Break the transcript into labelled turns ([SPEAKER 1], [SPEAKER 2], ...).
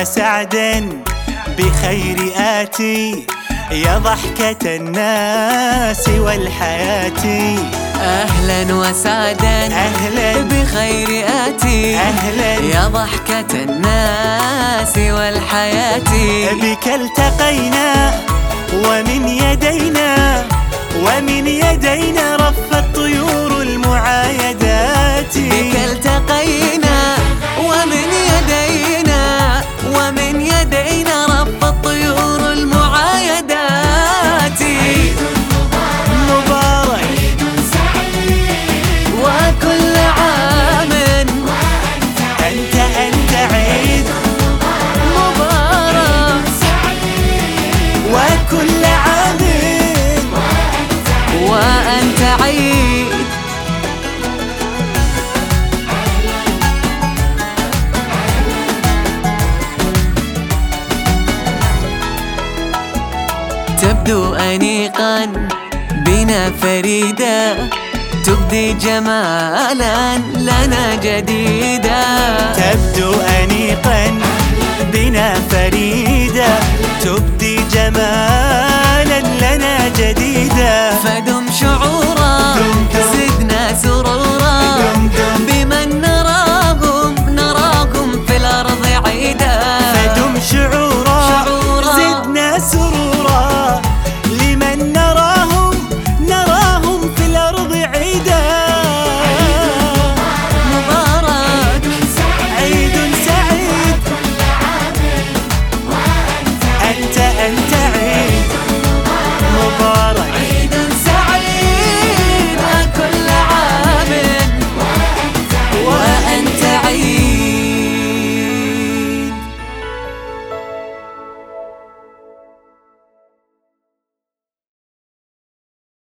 [SPEAKER 1] وسعدا بخير آتي يا ضحكة الناس والحياة
[SPEAKER 2] أهلا وسعدا
[SPEAKER 1] أهلا
[SPEAKER 2] بخير آتي
[SPEAKER 1] أهلا
[SPEAKER 2] يا ضحكة الناس والحياة
[SPEAKER 1] بك التقينا ومن يدينا ومن يدينا رفت طيور المعايدات
[SPEAKER 2] بك التقينا ومن يدينا ومن يدينا رب الطيور المعايدات
[SPEAKER 1] مبارك
[SPEAKER 2] وكل عام
[SPEAKER 1] أنت أنت عيد
[SPEAKER 2] مبارك
[SPEAKER 1] وكل عام
[SPEAKER 2] وأنت عيد تبدو أنيقا بنا فريدة تبدي جمالا لنا جديدا
[SPEAKER 1] تبدو أنيقا بنا فريدة تبدي جمال